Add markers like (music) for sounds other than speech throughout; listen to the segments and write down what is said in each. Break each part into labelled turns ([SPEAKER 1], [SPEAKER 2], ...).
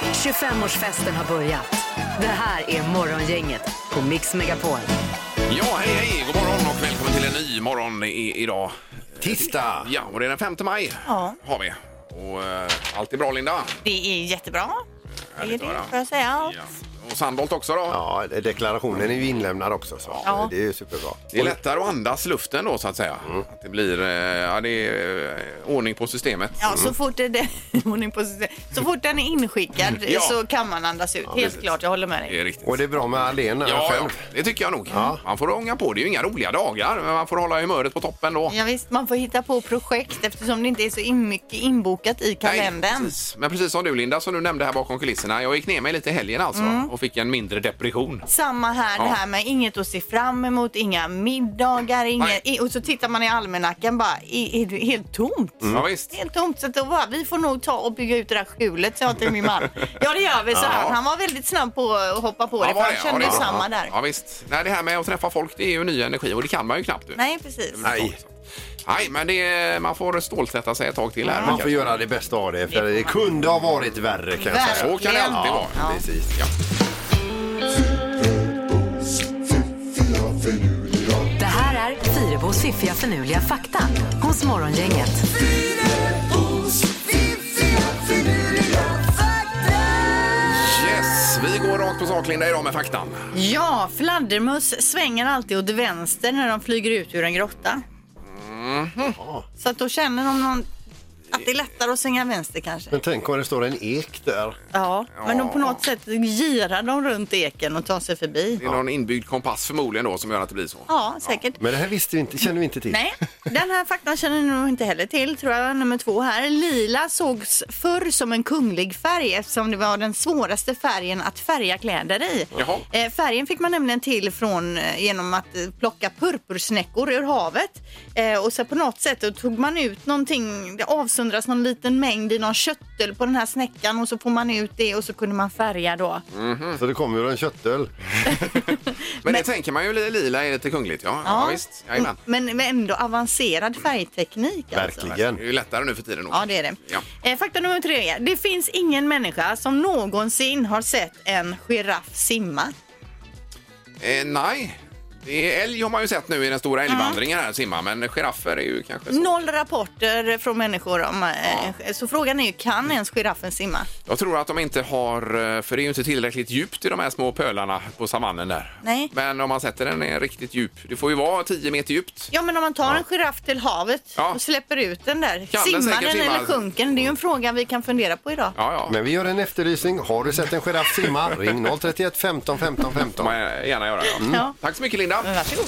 [SPEAKER 1] 25-årsfesten har börjat. Det här är Morgongänget på Mix Megapol.
[SPEAKER 2] Ja, hej, hej! God morgon och välkommen till en ny morgon i, idag.
[SPEAKER 3] Tisdag!
[SPEAKER 2] Ja, och det är den 5 maj
[SPEAKER 4] Ja.
[SPEAKER 2] har vi. Och eh, allt är bra, Linda.
[SPEAKER 4] Det är jättebra. Det är
[SPEAKER 2] Härligt att höra.
[SPEAKER 4] det, får jag säga.
[SPEAKER 2] Ja. Och Sandholt också då?
[SPEAKER 3] Ja, deklarationen är ju inlämnad också så det är ju superbra.
[SPEAKER 2] Det är lättare att andas luften då så att säga.
[SPEAKER 3] Mm.
[SPEAKER 2] Att det blir eh, ja, det är, eh, ordning på systemet.
[SPEAKER 4] Ja, så fort, det, (laughs) hon är på, så fort den är inskickad
[SPEAKER 2] Ja.
[SPEAKER 4] så kan man andas ut. Helt klart, jag håller med
[SPEAKER 2] Det är
[SPEAKER 4] dig.
[SPEAKER 2] riktigt.
[SPEAKER 3] Och det är bra med Alena
[SPEAKER 2] Ja, ja,
[SPEAKER 3] själv.
[SPEAKER 2] det tycker jag nog. Man får ånga på. Det är ju inga roliga dagar, men man får hålla humöret på toppen då.
[SPEAKER 4] Ja, visst, man får hitta på projekt eftersom det inte är så in mycket inbokat i
[SPEAKER 2] Nej,
[SPEAKER 4] kalendern.
[SPEAKER 2] precis. Men precis som du Linda, som du nämnde här bakom kulisserna. Jag gick ner mig lite i helgen alltså
[SPEAKER 4] Mm.
[SPEAKER 2] och fick en mindre depression.
[SPEAKER 4] Samma här,
[SPEAKER 2] Ja.
[SPEAKER 4] det här med inget att se fram emot, inga middagar,
[SPEAKER 2] Nej.
[SPEAKER 4] inget, i- och så tittar man i almanackan bara, är, är det helt tomt?
[SPEAKER 3] Mm.
[SPEAKER 2] Ja, visst.
[SPEAKER 4] Helt tomt, så att då bara, vi får nog ta och bygga ut det där skjulet, sa jag till min man.
[SPEAKER 2] (laughs)
[SPEAKER 4] Ja, det gör vi, sa han. Han var väldigt snabb på att hoppa på det, för han kände
[SPEAKER 2] det.
[SPEAKER 4] samma där.
[SPEAKER 2] Ja, visst. Nej, det här med att träffa folk det är ju ny energi och det kan man ju knappt. du.
[SPEAKER 4] Nej, precis.
[SPEAKER 3] Nej,
[SPEAKER 2] Nej, men det, är- man får stålsätta sig ett tag till här.
[SPEAKER 3] man får göra det bästa av det för det kunde ha varit värre kan jag säga.
[SPEAKER 2] Så kan det alltid vara.
[SPEAKER 4] Ja.
[SPEAKER 3] Precis.
[SPEAKER 2] Ja.
[SPEAKER 1] Det här är Fyrebos fiffiga förnuliga fakta hos Morgongänget.
[SPEAKER 2] Yes, vi går rakt på sak Linda idag med faktan.
[SPEAKER 4] Ja, fladdermöss svänger alltid åt vänster när de flyger ut ur en grotta. Så att då känner de någon, att det är lättare att svänga vänster kanske.
[SPEAKER 3] Men tänk om det står en ek där.
[SPEAKER 4] Ja, men de på något sätt girar de runt eken och tar sig förbi.
[SPEAKER 2] Det är någon inbyggd kompass förmodligen då som gör att det blir så.
[SPEAKER 4] Ja, säkert.
[SPEAKER 3] Men det här visste vi inte, känner vi inte till.
[SPEAKER 4] Nej, den här faktan känner ni nog inte heller till, tror jag. Nummer två här. Lila sågs förr som en kunglig färg eftersom det var den svåraste färgen att färga kläder i.
[SPEAKER 2] Jaha.
[SPEAKER 4] Eh, färgen fick man nämligen till från, eh, genom att eh, plocka purpursnäckor ur havet. Eh, och så på något sätt då tog man ut någonting, det avsöndras någon liten mängd i någon köttel på den här snäckan och så får man ut det och så kunde man färga
[SPEAKER 2] Mm,
[SPEAKER 4] då.
[SPEAKER 3] Mm. Så det kommer ur en köttöl.
[SPEAKER 2] Men, det tänker man ju li- lila är lite kungligt. Ja, ja. visst. Jajamän.
[SPEAKER 4] Mm, men, men ändå avancerad färgteknik. Alltså.
[SPEAKER 2] Det är
[SPEAKER 3] Verkligen.
[SPEAKER 2] ju lättare nu för tiden. nog.
[SPEAKER 4] Ja, det är det.
[SPEAKER 2] Ja.
[SPEAKER 4] Eh, fakta nummer tre. Det finns ingen människa som någonsin har sett en giraff simma.
[SPEAKER 2] Eh, nej, det är älg har man ju sett nu i den stora älgvandringen här simma, men giraffer är ju kanske så.
[SPEAKER 4] Noll rapporter från människor om... Eh, Så frågan är ju, kan ens giraffen simma?
[SPEAKER 2] Jag tror att de inte har, eh, för det är ju inte tillräckligt djupt i de här små pölarna på savannen där.
[SPEAKER 4] Nej.
[SPEAKER 2] Men om man sätter den i riktigt djup, det får ju vara 10 meter djupt.
[SPEAKER 4] Ja, men om man tar en giraff till havet
[SPEAKER 2] Ja.
[SPEAKER 4] och släpper ut den där,
[SPEAKER 2] den
[SPEAKER 4] simmar
[SPEAKER 2] säkert
[SPEAKER 4] den
[SPEAKER 2] simma?
[SPEAKER 4] eller sjunker den? Det är ju en fråga vi kan fundera på idag.
[SPEAKER 2] Ja, ja.
[SPEAKER 3] Men vi gör en efterlysning. Har du sett en giraff simma? Ring 031 15 15
[SPEAKER 2] får
[SPEAKER 3] 15.
[SPEAKER 2] man gärna göra. Ja.
[SPEAKER 4] Ja.
[SPEAKER 2] Tack så mycket Linda.
[SPEAKER 3] Mm.
[SPEAKER 4] Men varsågod.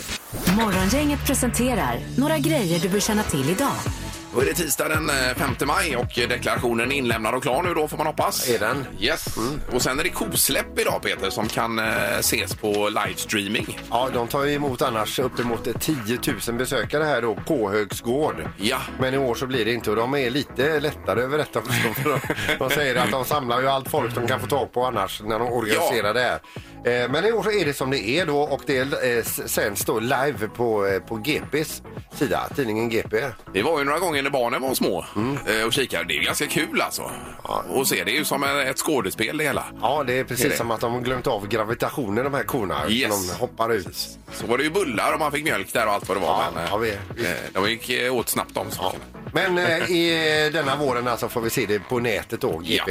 [SPEAKER 1] Morgongänget presenterar några grejer du bör känna till idag.
[SPEAKER 2] Då är det tisdag den eh, 5 maj och eh, deklarationen är inlämnad och klar nu då får man hoppas.
[SPEAKER 3] Är den? Mm.
[SPEAKER 2] Yes. Och sen är det kosläpp idag Peter som kan eh, ses på livestreaming.
[SPEAKER 3] Ja, de tar ju emot annars uppemot 10 000 besökare här då på Högsgård.
[SPEAKER 2] Ja.
[SPEAKER 3] Men i år så blir det inte och de är lite lättare över detta också. För de, de säger att de samlar ju allt folk de kan få tag på annars när de organiserar
[SPEAKER 2] Ja.
[SPEAKER 3] det här. Eh, Men i år så är det som det är då och det eh, s- sänds då live på, eh, på GPs sida, tidningen GP.
[SPEAKER 2] Det var ju några gånger när barnen var små
[SPEAKER 3] Mm.
[SPEAKER 2] eh, och kikade. Det är ju ganska kul alltså. Och se, det är ju som en- ett skådespel det hela.
[SPEAKER 3] Ja, det är precis
[SPEAKER 2] Är det?
[SPEAKER 3] som att de har glömt av gravitationen de här korna.
[SPEAKER 2] Yes.
[SPEAKER 3] De hoppar ut.
[SPEAKER 2] Så var det ju bullar och man fick mjölk där och allt vad det var.
[SPEAKER 3] Ja,
[SPEAKER 2] men, eh,
[SPEAKER 3] ja, vi-
[SPEAKER 2] eh, de gick eh, åt snabbt de sakerna.
[SPEAKER 3] Men eh, i denna våren alltså får vi se det på nätet då, eh,
[SPEAKER 2] Ja.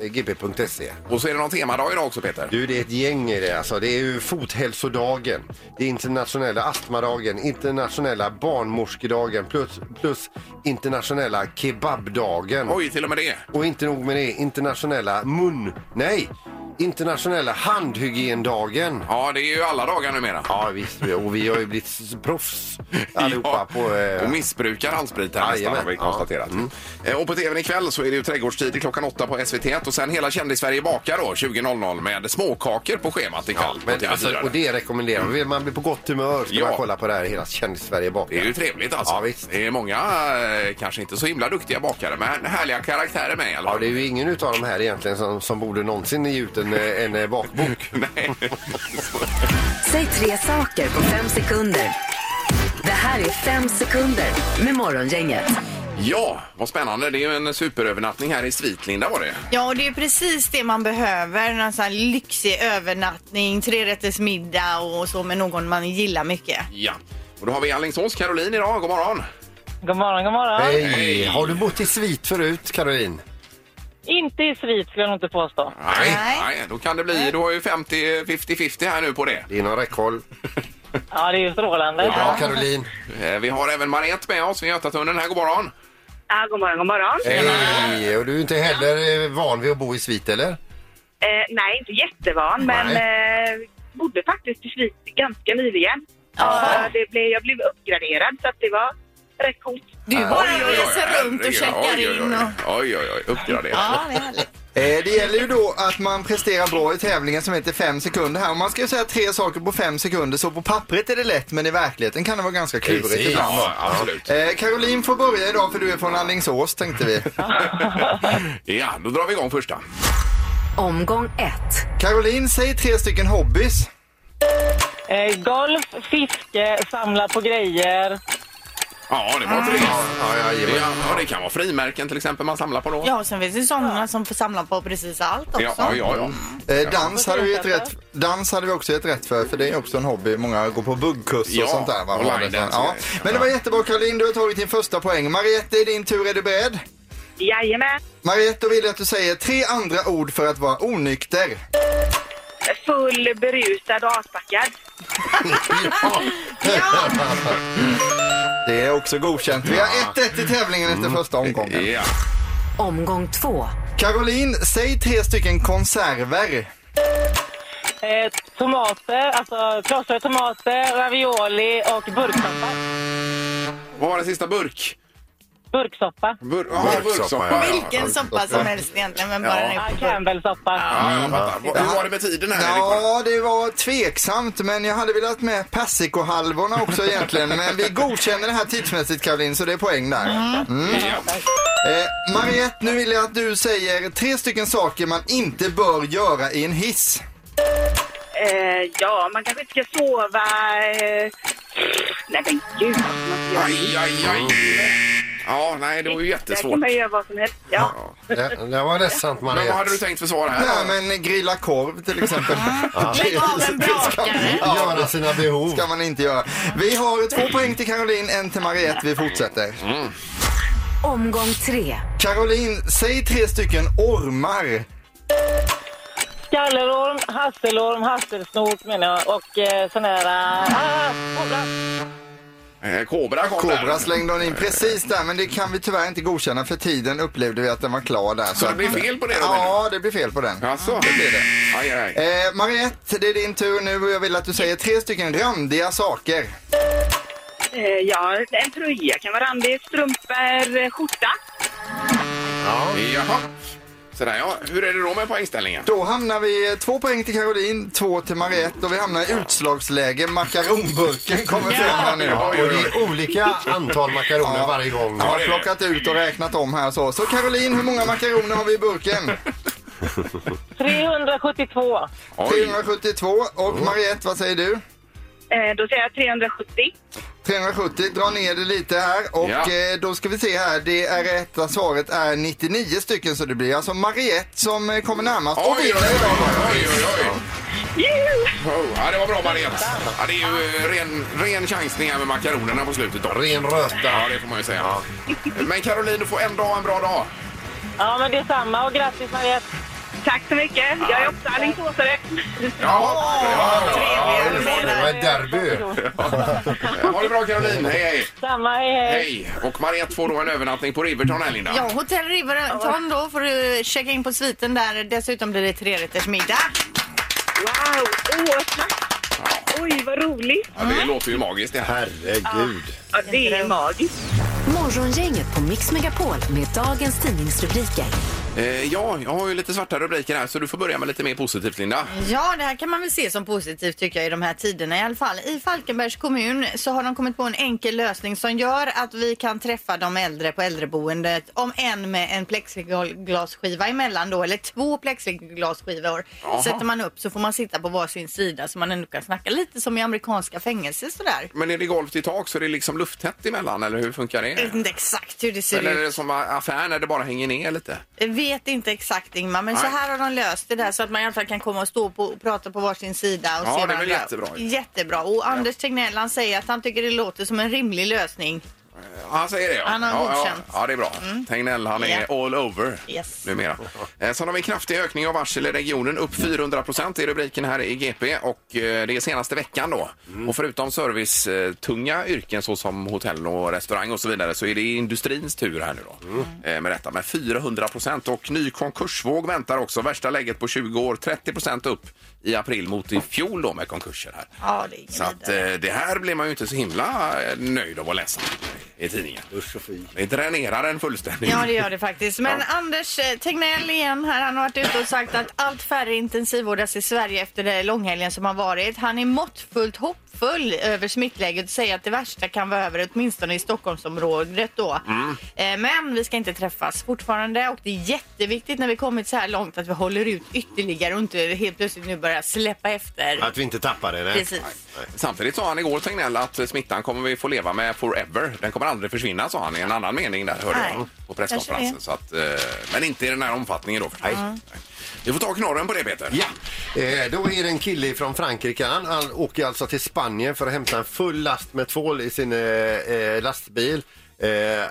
[SPEAKER 3] gp.se.
[SPEAKER 2] Och så är det någon temadag idag också Peter.
[SPEAKER 3] Du, det är ett gäng i det. Alltså. Det är ju fothälsodagen, det är internationella astmadagen, internationella barnmorskedagen plus, plus internationella kebabdagen.
[SPEAKER 2] Oj, till och med det.
[SPEAKER 3] Och inte nog med det, internationella mun... Nej! Internationella handhygiendagen.
[SPEAKER 2] Ja, det är ju alla dagar numera.
[SPEAKER 3] Ja, visst. Och vi har ju blivit s- proffs allihopa
[SPEAKER 2] (laughs) Ja,
[SPEAKER 3] på... eh,
[SPEAKER 2] och missbrukar handsprit här nästan
[SPEAKER 3] Jajamän.
[SPEAKER 2] har vi
[SPEAKER 3] Ja. Mm.
[SPEAKER 2] konstaterat. Eh, Och på tvn ikväll så är det ju trädgårdstid klockan åtta på SVT och sen hela Kändis-Sverige bakar då 20.00 med småkakor på schemat ikväll på
[SPEAKER 3] Men,
[SPEAKER 2] TV4.
[SPEAKER 3] alltså, och det rekommenderar vi. Vill man bli på gott humör ska
[SPEAKER 2] Ja.
[SPEAKER 3] man kolla på det här hela Kändis-Sverige bakar.
[SPEAKER 2] Det är ju trevligt alltså.
[SPEAKER 3] Ja, visst.
[SPEAKER 2] Det är många, eh, kanske inte så himla duktiga bakare, men härliga karaktärer med i alla
[SPEAKER 3] Ja,
[SPEAKER 2] fall.
[SPEAKER 3] det är ju ingen utav de här egentligen som, som borde någonsin ge ut en, eh, en eh, bakbok.
[SPEAKER 2] (laughs) Nej.
[SPEAKER 1] Säg tre saker på fem sekunder. Det här är fem sekunder med Morgongänget.
[SPEAKER 2] Ja, vad spännande. Det är ju en superövernattning här i Svitlinda var det.
[SPEAKER 4] Ja, och det är precis det man behöver. En sån här lyxig övernattning, trerättersmiddag och så med någon man gillar mycket.
[SPEAKER 2] Ja. Och då har vi Alingsås Caroline idag. God morgon!
[SPEAKER 5] God morgon, god morgon.
[SPEAKER 3] Hej!
[SPEAKER 2] Hej.
[SPEAKER 3] Har du bott i svit förut, Caroline?
[SPEAKER 5] Inte i svit skulle jag nog inte påstå.
[SPEAKER 2] Nej.
[SPEAKER 4] Nej.
[SPEAKER 2] Nej, då kan det bli. Du har ju 50 50-50 här nu på det.
[SPEAKER 3] Det är någon räckhåll.
[SPEAKER 5] Ja, det är ju strålande.
[SPEAKER 3] Ja, Caroline.
[SPEAKER 2] Eh, Vi har även Mariette med oss vid Götatunneln. Här, god morgon!
[SPEAKER 6] Ja, Ah, god morgon, god morgon.
[SPEAKER 3] Hej! Och du är inte heller eh, van vid att bo i svit, eller?
[SPEAKER 6] Eh, nej, inte jättevan, men eh, bodde faktiskt i Schweiz ganska nyligen. Ja. Det blev, jag blev uppgraderad, så att det var rätt coolt.
[SPEAKER 4] Du bara reser runt och checkar
[SPEAKER 2] oj, oj,
[SPEAKER 4] in och...
[SPEAKER 2] Oj, oj, oj, uppgraderat.
[SPEAKER 4] Ja, det är härligt.
[SPEAKER 7] Eh, Det gäller ju då att man presterar bra i tävlingen som heter 5 sekunder här. Om man ska säga tre saker på 5 sekunder så på pappret är det lätt men i verkligheten kan det vara ganska klurigt
[SPEAKER 3] Precis.
[SPEAKER 7] ibland.
[SPEAKER 2] Ja, absolut.
[SPEAKER 7] Eh, Caroline får börja idag för du är från Alingsås
[SPEAKER 3] (laughs)
[SPEAKER 7] tänkte vi.
[SPEAKER 2] Ja, då drar vi igång första.
[SPEAKER 1] Omgång ett.
[SPEAKER 7] Caroline, säg tre stycken hobbys.
[SPEAKER 5] Eh, golf, fiske, samla på grejer.
[SPEAKER 2] Ja, det var tre.
[SPEAKER 3] Ja, ja, jajamän.
[SPEAKER 2] Ja, ja, det kan vara frimärken till exempel man samlar på då.
[SPEAKER 4] Ja, och sen finns det sådana som får samla på precis allt också.
[SPEAKER 2] ja, ja. ja, ja.
[SPEAKER 7] Eh, dans, hade vi ett rätt, dans hade vi också ett rätt för, för det är också en hobby. Många går på buggkurs och
[SPEAKER 2] Ja,
[SPEAKER 7] sånt där. va?
[SPEAKER 2] och line
[SPEAKER 7] Ja.
[SPEAKER 2] dance och grejer.
[SPEAKER 7] Men det var jättebra Caroline, du har tagit din första poäng. Mariette, det är din tur. Är du beredd?
[SPEAKER 6] Jajamän.
[SPEAKER 7] Mariette, då vill jag att du säger tre andra ord för att vara onykter.
[SPEAKER 6] Full, berusad och aspackad.
[SPEAKER 7] Det är också godkänt. Vi har 1-1 i tävlingen efter
[SPEAKER 2] Mm.
[SPEAKER 7] första omgången.
[SPEAKER 2] Ja.
[SPEAKER 1] Omgång två.
[SPEAKER 7] Caroline, säg tre stycken konserver.
[SPEAKER 5] Eh, tomater, alltså krossade tomater, ravioli och burksoppa.
[SPEAKER 2] Vad var det sista? Burk?
[SPEAKER 5] Burksoppa.
[SPEAKER 2] Bur ja, burksoppa. ja.
[SPEAKER 4] Vilken soppa som helst egentligen, men bara den
[SPEAKER 5] Ja,
[SPEAKER 4] är på burk.
[SPEAKER 5] Campbellsoppa.
[SPEAKER 2] Ja, jag fattar. Vad- Hur var det med tiden här? Erik?
[SPEAKER 7] Mm. Ja, det var tveksamt, men jag hade velat med persikohalvorna också egentligen. Men vi godkänner det här tidsmässigt Caroline, så det är poäng där. Mm.
[SPEAKER 2] Ja.
[SPEAKER 7] Eh, Mariette, nu vill jag att du säger tre stycken saker man inte bör göra i en hiss.
[SPEAKER 6] Eh, ja, man kanske inte ska sova... Eh, nej, men gud. vad ska man ska göra?
[SPEAKER 2] Aj, aj, aj.
[SPEAKER 7] Mm.
[SPEAKER 2] Ja, nej, det var ju
[SPEAKER 6] Där
[SPEAKER 2] jättesvårt.
[SPEAKER 6] kan man göra vad som helst. Ja.
[SPEAKER 3] Det, det var ledsamt,
[SPEAKER 2] Men vad hade du
[SPEAKER 3] Mariette.
[SPEAKER 2] tänkt för svar
[SPEAKER 7] Ja,
[SPEAKER 2] här?
[SPEAKER 7] men grilla korv till exempel. (laughs)
[SPEAKER 4] Lägg av en brakare.
[SPEAKER 3] Göra sina behov.
[SPEAKER 7] ska man inte göra. Vi har två poäng till Caroline, en till Mariette. Vi fortsätter.
[SPEAKER 1] Omgång tre.
[SPEAKER 7] Caroline, säg tre stycken ormar.
[SPEAKER 5] Skallerorm, hasselorm, hasselsnok menar jag. Och eh, sån här... eh, Ah, kolla.
[SPEAKER 2] Eh, Kobra kom
[SPEAKER 7] Kobra
[SPEAKER 2] där.
[SPEAKER 7] slängde hon in precis där, men det kan vi tyvärr inte godkänna för tiden upplevde vi att den var klar där.
[SPEAKER 2] Så det
[SPEAKER 7] att-
[SPEAKER 2] blir fel på det då, menar
[SPEAKER 7] Ja, det blir fel på den.
[SPEAKER 2] Jaså?
[SPEAKER 7] Det blir det.
[SPEAKER 2] Aj, aj, aj.
[SPEAKER 7] Eh, Mariette, det är din tur nu och jag vill att du säger tre stycken randiga saker.
[SPEAKER 6] Eh, ja, en tröja kan vara randig, strumpor, eh, skjorta.
[SPEAKER 2] Jaha. Sådär ja. Hur är det då med poängställningen?
[SPEAKER 7] Eh. Då hamnar vi eh, två poäng till Caroline, två till Mariette och vi hamnar i utslagsläge. Makaronburken kommer fram här nu.
[SPEAKER 3] Ja, och det är olika antal makaroner varje gång.
[SPEAKER 7] Jag har plockat ut och räknat om här så. Så Caroline, hur många makaroner har vi i burken?
[SPEAKER 5] 372.
[SPEAKER 2] Oj.
[SPEAKER 7] 372. Och Mariette, vad säger du?
[SPEAKER 6] Eh, då säger jag 370.
[SPEAKER 7] 370, dra ner det lite här och
[SPEAKER 2] Ja.
[SPEAKER 7] eh, då ska vi se här, det är rätta svaret är 99 stycken så det blir alltså Mariette som eh, kommer närmast och
[SPEAKER 2] Oj, oj,
[SPEAKER 7] vinner idag.
[SPEAKER 2] oj, oj, oj. Oh, ja, det var bra Mariette. Ja, det är ju eh, ren, ren chansning här med makaronerna på slutet. Då.
[SPEAKER 3] Ren
[SPEAKER 2] Ja,
[SPEAKER 3] röta.
[SPEAKER 2] det får man ju säga. Men Caroline, du får en dag en bra dag.
[SPEAKER 5] Ja, men det är samma. Och grattis Mariette.
[SPEAKER 6] Tack så mycket. Jag är också alingsåsare.
[SPEAKER 2] Ja,
[SPEAKER 3] Det var ett derby.
[SPEAKER 2] ha det bra Caroline. Hej, hej.
[SPEAKER 5] Samma, hej, hej.
[SPEAKER 2] Hej! Och Mariette får då en övernattning på Riverton här, Linda.
[SPEAKER 4] Ja, hotell Riverton då får du checka in på sviten där. Dessutom blir det trerättersmiddag.
[SPEAKER 6] Wow! Åh, tack! Oj, vad roligt!
[SPEAKER 2] Ja, det låter ju magiskt det här.
[SPEAKER 3] Herregud.
[SPEAKER 6] Ja, det är magiskt.
[SPEAKER 1] Morgongänget på Mix Megapol med dagens tidningsrubriker.
[SPEAKER 2] Eh, ja, jag har ju lite svarta rubriker här så du får börja med lite mer positivt Linda.
[SPEAKER 4] Ja, det här kan man väl se som positivt tycker jag i de här tiderna i alla fall. I Falkenbergs kommun så har de kommit på en enkel lösning som gör att vi kan träffa de äldre på äldreboendet om en med en plexiglasskiva emellan då, eller två plexiglasskivor
[SPEAKER 2] Jaha.
[SPEAKER 4] sätter man upp så får man sitta på varsin sida så man ändå kan snacka lite som i amerikanska fängelser sådär.
[SPEAKER 2] Men är det golv till tak så är det liksom lufttätt emellan eller hur funkar
[SPEAKER 4] Jag vet
[SPEAKER 2] det?
[SPEAKER 4] inte exakt hur det ser
[SPEAKER 2] Eller
[SPEAKER 4] ut.
[SPEAKER 2] är det som affär när det bara hänger ner lite?
[SPEAKER 4] Jag vet inte exakt Ingmar, men så
[SPEAKER 2] Nej.
[SPEAKER 4] här har de löst det där så att man i alla fall kan komma och stå på, och prata på varsin sida och
[SPEAKER 2] Ja,
[SPEAKER 4] se
[SPEAKER 2] det är väl
[SPEAKER 4] varandra.
[SPEAKER 2] jättebra ju.
[SPEAKER 4] Jättebra. Och Anders Tegnell han säger att han tycker det låter som en rimlig lösning.
[SPEAKER 2] Ja, Han säger det ja.
[SPEAKER 4] Han har
[SPEAKER 2] ja, ja.
[SPEAKER 4] godkänt. Mm.
[SPEAKER 2] ja, det är bra. Tegnell han är
[SPEAKER 4] Ja.
[SPEAKER 2] all over
[SPEAKER 4] Yes.
[SPEAKER 2] numera. Eh, Sen har vi en kraftig ökning av varsel i regionen, upp 400 procent i rubriken här i GP och eh, det är senaste veckan då. Och förutom servicetunga yrken såsom hotell och restaurang och så vidare så är det industrins tur här nu då. Eh, Med detta med 400 procent och ny konkursvåg väntar också. Värsta läget på 20 år, 30 procent upp i april mot i fjol då med konkurser här.
[SPEAKER 4] Ja, det är ingen
[SPEAKER 2] Så att,
[SPEAKER 4] vidare.
[SPEAKER 2] eh, det här blir man ju inte så himla eh, nöjd av att läsa i tidningen. Det dränerar en fullständigt.
[SPEAKER 4] Ja, det gör det faktiskt. Men Anders eh, Tegnell igen här, han har varit ute och sagt att allt färre intensivvårdas i Sverige efter det långhelgen som har varit. Han är måttfullt hoppfull över smittläget och säger att det värsta kan vara över, åtminstone i Stockholmsområdet då. Eh, Men vi ska inte träffas fortfarande och det är jätteviktigt när vi kommit så här långt att vi håller ut ytterligare och inte helt plötsligt nu börjar släppa efter.
[SPEAKER 3] Att vi inte tappar det. nej.
[SPEAKER 4] Precis.
[SPEAKER 2] Samtidigt sa han igår, Tegnell, att smittan kommer vi få leva med forever. Den kommer aldrig försvinna, sa han i en annan mening där, hörde
[SPEAKER 4] Nej,
[SPEAKER 2] jag, på presskonferensen. Så att, eh, men inte i den här omfattningen då förstås.
[SPEAKER 3] Nej.
[SPEAKER 2] Nej. Vi får ta knorren på det, Peter.
[SPEAKER 3] Ja, eh, då är det en kille från Frankrike. Han, han åker alltså till Spanien för att hämta en full last med tvål i sin eh, eh, lastbil. Eh,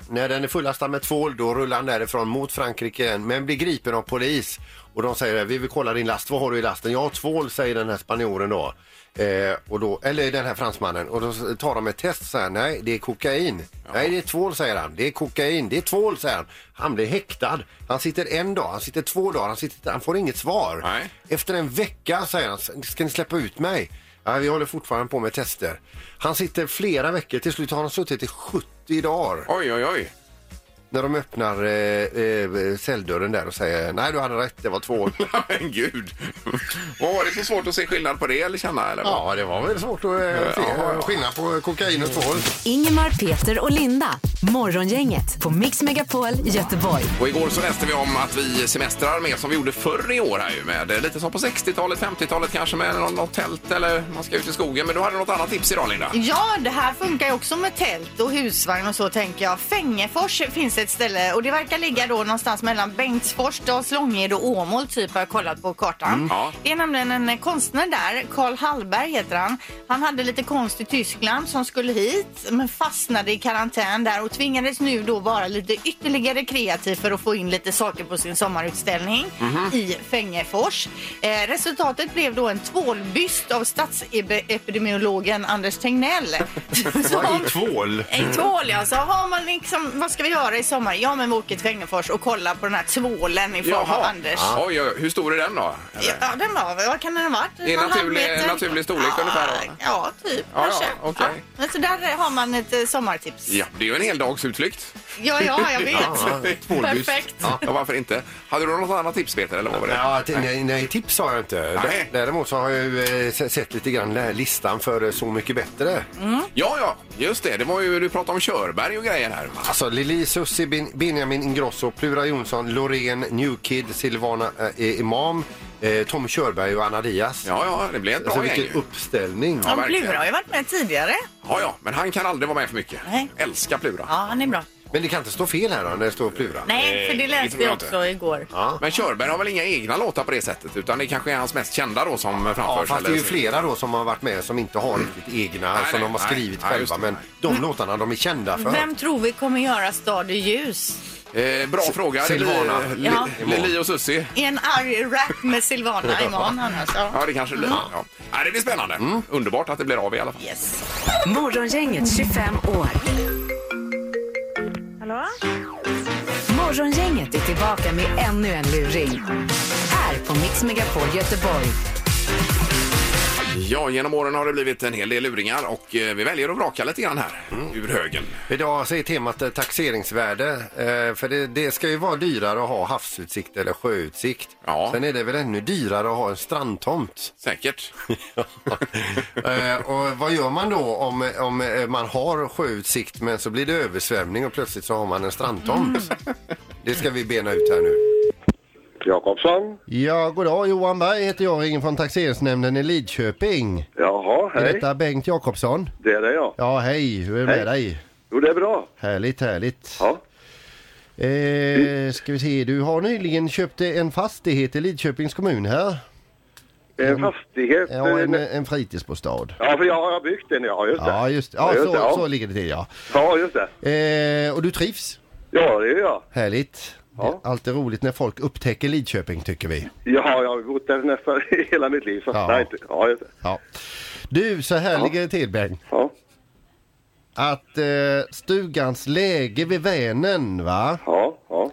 [SPEAKER 3] när den är fullastad med tvål då rullar han därifrån mot Frankrike igen, men blir gripen av polis. Och de säger vi vill kolla din last, vad har du i lasten? Jag har tvål säger den här spanjoren då. Eh, och då. Eller den här fransmannen. Och då tar de ett test och säger nej det är kokain. Nej det är tvål säger han. Det är kokain, det är tvål säger han. Han blir häktad. Han sitter en dag, han sitter två dagar, han, sitter, han får inget svar.
[SPEAKER 2] Nej.
[SPEAKER 3] Efter en vecka säger han, ska ni släppa ut mig? Ja, vi håller fortfarande på med tester. Han sitter flera veckor, till slut har han suttit i 70 dagar
[SPEAKER 2] Oj, oj, oj. (laughs)
[SPEAKER 3] när de öppnar eh, eh, celldörren där och säger nej du hade rätt, det var två.
[SPEAKER 2] Men gud. Vad var det så svårt att se skillnad på det eller känna? Eller? vad?
[SPEAKER 3] ja, det var väl svårt att eh, se eh, skillnad på kokain och tvål.
[SPEAKER 1] Ingemar, Peter och Linda. Morgongänget på Mix Megapol Göteborg.
[SPEAKER 2] Och igår så läste vi om att vi semestrar mer som vi gjorde förr i år här ju med eh, lite som på 60-talet, 50-talet kanske med någon- något tält eller man ska ut i skogen. Men du hade något annat tips idag Linda?
[SPEAKER 4] Ja, det här funkar ju också med tält och husvagn och så tänker jag. Fängefors finns ett ställe och det verkar ligga då någonstans mellan Bengtsfors, Dals-Långed och Åmål typ har jag kollat på kartan.
[SPEAKER 2] Ja.
[SPEAKER 4] Det är nämligen en eh, konstnär där, Karl Hallberg heter han. Han hade lite konst i Tyskland som skulle hit men fastnade i karantän där och tvingades nu då vara lite ytterligare kreativ för att få in lite saker på sin sommarutställning i Fängefors. Eh, resultatet blev då en tvålbyst av statsepidemiologen Anders Tegnell. (laughs) Som-
[SPEAKER 3] Tvål?
[SPEAKER 4] en tvål ja, så alltså, har man liksom, vad ska vi göra i sommar? Ja men vi åker till Fängefors och kollar på den här tvålen i form av Anders.
[SPEAKER 2] Ja. Oj, oj, hur stor är den då? Eller?
[SPEAKER 4] Ja, den var väl, vad kan den ha varit?
[SPEAKER 2] Det är
[SPEAKER 4] Någon
[SPEAKER 2] naturlig-
[SPEAKER 4] halvmeter?
[SPEAKER 2] naturlig storlek
[SPEAKER 4] ja,
[SPEAKER 2] ungefär, va?
[SPEAKER 4] Ja, typ
[SPEAKER 2] Ja,
[SPEAKER 4] kanske.
[SPEAKER 2] ja, okej.
[SPEAKER 4] men så där har man ett eh, sommartips.
[SPEAKER 2] Ja, det är ju en heldagsutflykt. (laughs)
[SPEAKER 4] Ja, ja, jag vet. (laughs) Perfekt.
[SPEAKER 2] Ja, varför inte? Hade du något annat tips Peter? Eller vad var det?
[SPEAKER 3] Ja, t- nej, nej, tips har jag inte.
[SPEAKER 2] Nej.
[SPEAKER 3] Dä- Däremot så har jag ju eh, se- sett lite grann eh, listan för eh, Så mycket bättre.
[SPEAKER 2] Ja, ja, just det. Det var ju, du pratade om Körberg och grejer här.
[SPEAKER 3] Alltså Lili, Susi, Bin, Benjamin Ingrosso, Plura Jonsson, Loreen, Newkid, Silvana eh, Imam, eh, Tom Körberg och Anna Diaz.
[SPEAKER 2] Ja, ja, det blev ett bra
[SPEAKER 3] Alltså
[SPEAKER 2] gäng.
[SPEAKER 3] vilken
[SPEAKER 2] ju.
[SPEAKER 3] uppställning.
[SPEAKER 2] Ja,
[SPEAKER 4] Ja,
[SPEAKER 2] verkligen.
[SPEAKER 4] Plura har ju varit med tidigare.
[SPEAKER 2] Ja, ja, men han kan aldrig vara med för mycket.
[SPEAKER 4] Nej.
[SPEAKER 2] Älskar Plura.
[SPEAKER 4] Ja, han är bra.
[SPEAKER 3] Men det kan inte stå fel här då när det står Plura.
[SPEAKER 4] Nej, för det läste
[SPEAKER 2] tror jag
[SPEAKER 4] jag också igår.
[SPEAKER 2] Men Körberg har väl inga egna låtar på det sättet utan det kanske är hans mest kända då som framförs?
[SPEAKER 3] Ja, fast det är ju
[SPEAKER 2] eller-
[SPEAKER 3] flera då som har varit med som inte har riktigt egna
[SPEAKER 2] Nej,
[SPEAKER 3] som
[SPEAKER 2] nej,
[SPEAKER 3] de har
[SPEAKER 2] nej,
[SPEAKER 3] skrivit
[SPEAKER 2] nej, just
[SPEAKER 3] själva.
[SPEAKER 2] det, Mm.
[SPEAKER 3] Men
[SPEAKER 2] nej.
[SPEAKER 3] de låtarna de är kända för.
[SPEAKER 4] Vem tror vi kommer göra Stad i ljus?
[SPEAKER 2] Eh, bra fråga.
[SPEAKER 3] Silvana.
[SPEAKER 2] Lili,
[SPEAKER 4] Ja.
[SPEAKER 2] Lili och Susi.
[SPEAKER 4] I en arg rap
[SPEAKER 2] (laughs)
[SPEAKER 4] med Silvana imorgon annars. Ja.
[SPEAKER 2] Ja, det kanske blir. Ja. Nej, det blir spännande.
[SPEAKER 3] Mm.
[SPEAKER 2] Underbart att det blir av i alla fall.
[SPEAKER 4] Yes.
[SPEAKER 1] Morgongänget 25 år.
[SPEAKER 5] Hallå?
[SPEAKER 1] Morgongänget är tillbaka med ännu en luring. Här på Mix Megapol Göteborg.
[SPEAKER 2] Ja, genom åren har det blivit en hel del luringar och eh, vi väljer att vraka lite grann här
[SPEAKER 3] Mm.
[SPEAKER 2] ur högen.
[SPEAKER 3] Idag så är temat eh, taxeringsvärde. Eh, för det, det ska ju vara dyrare att ha havsutsikt eller sjöutsikt.
[SPEAKER 2] Ja.
[SPEAKER 3] Sen är det väl ännu dyrare att ha en strandtomt. (laughs)
[SPEAKER 2] Säkert.
[SPEAKER 3] eh, och vad gör man då om, om eh, man har sjöutsikt men så blir det översvämning och plötsligt så har man en strandtomt?
[SPEAKER 8] Mm.
[SPEAKER 3] Det ska vi bena ut här nu.
[SPEAKER 8] Jakobsson?
[SPEAKER 3] Ja, goddag. Johan Berg heter jag, ringer från Taxeringsnämnden i Lidköping.
[SPEAKER 8] Jaha,
[SPEAKER 3] Är
[SPEAKER 8] hej.
[SPEAKER 3] detta Bengt Jakobsson?
[SPEAKER 8] Det är det jag.
[SPEAKER 3] Ja, hej. Hur är det med
[SPEAKER 8] Hej.
[SPEAKER 3] dig?
[SPEAKER 8] Jo, det är bra.
[SPEAKER 3] Härligt, härligt.
[SPEAKER 8] Ja.
[SPEAKER 3] Eh, ska vi se, du har nyligen köpt en fastighet i Lidköpings kommun här.
[SPEAKER 8] En Eh, fastighet.
[SPEAKER 3] Mm. Ja, en,
[SPEAKER 8] eh,
[SPEAKER 3] en fritidsbostad.
[SPEAKER 8] ja, för jag har byggt den. Ja, just det.
[SPEAKER 3] Ja, just, ja,
[SPEAKER 8] just det,
[SPEAKER 3] så,
[SPEAKER 8] ja.
[SPEAKER 3] så ligger det till ja.
[SPEAKER 8] Ja, just det.
[SPEAKER 3] Eh, och du trivs?
[SPEAKER 8] Ja, det är jag.
[SPEAKER 3] Härligt. Det är
[SPEAKER 8] Ja.
[SPEAKER 3] alltid roligt när folk upptäcker Lidköping tycker vi.
[SPEAKER 8] Ja, jag har bott där nästan (laughs) hela mitt liv. Så.
[SPEAKER 3] Ja.
[SPEAKER 8] Nej, inte. ja, just det.
[SPEAKER 3] Ja. Du, så här ligger det till Bengt.
[SPEAKER 8] Ja.
[SPEAKER 3] Att eh, stugans läge vid Vänern va,
[SPEAKER 8] Ja, ja.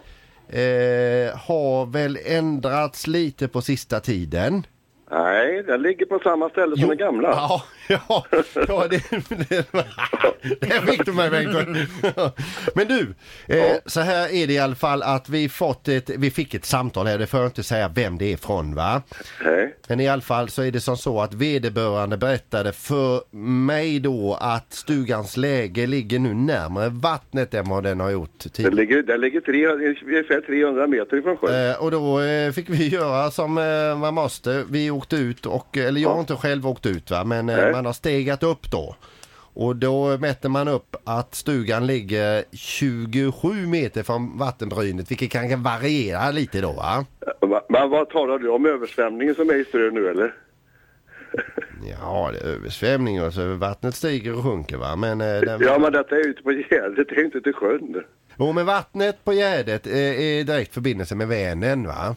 [SPEAKER 3] eh, har väl ändrats lite på sista tiden.
[SPEAKER 8] Nej, den ligger på samma ställe som den gamla.
[SPEAKER 3] Ja, ja, ja det, det, det fick du mig Bengt. Men du, eh, så här är det i alla fall att vi, fått ett, vi fick ett samtal här, det får jag inte säga vem det är från va.
[SPEAKER 8] Nej.
[SPEAKER 3] Men i alla fall så är det som så att vederbörande berättade för mig då att stugans läge ligger nu närmare vattnet än vad den har gjort
[SPEAKER 8] Den
[SPEAKER 3] tidigare.
[SPEAKER 8] ligger, den ligger 300, ungefär 300 meter ifrån sjön.
[SPEAKER 3] Eh, Och då eh, fick vi göra som eh, man måste. Vi åkte ut och, eller jag har inte själv åkt ut va, men eh,
[SPEAKER 8] Nej.
[SPEAKER 3] man har stegat upp då. Och då mätte man upp att stugan ligger 27 meter från vattenbrynet, vilket kan variera lite då va?
[SPEAKER 8] Va- Men vad talar du om översvämningen som är i Strö nu eller?
[SPEAKER 3] Ja, det är översvämning och så vattnet stiger och sjunker va. Men, eh, den...
[SPEAKER 8] Ja, men detta är ute på Gärdet, det är inte till sjön.
[SPEAKER 3] Jo, men vattnet på Gärdet eh, är direkt förbindelse med Vänern va?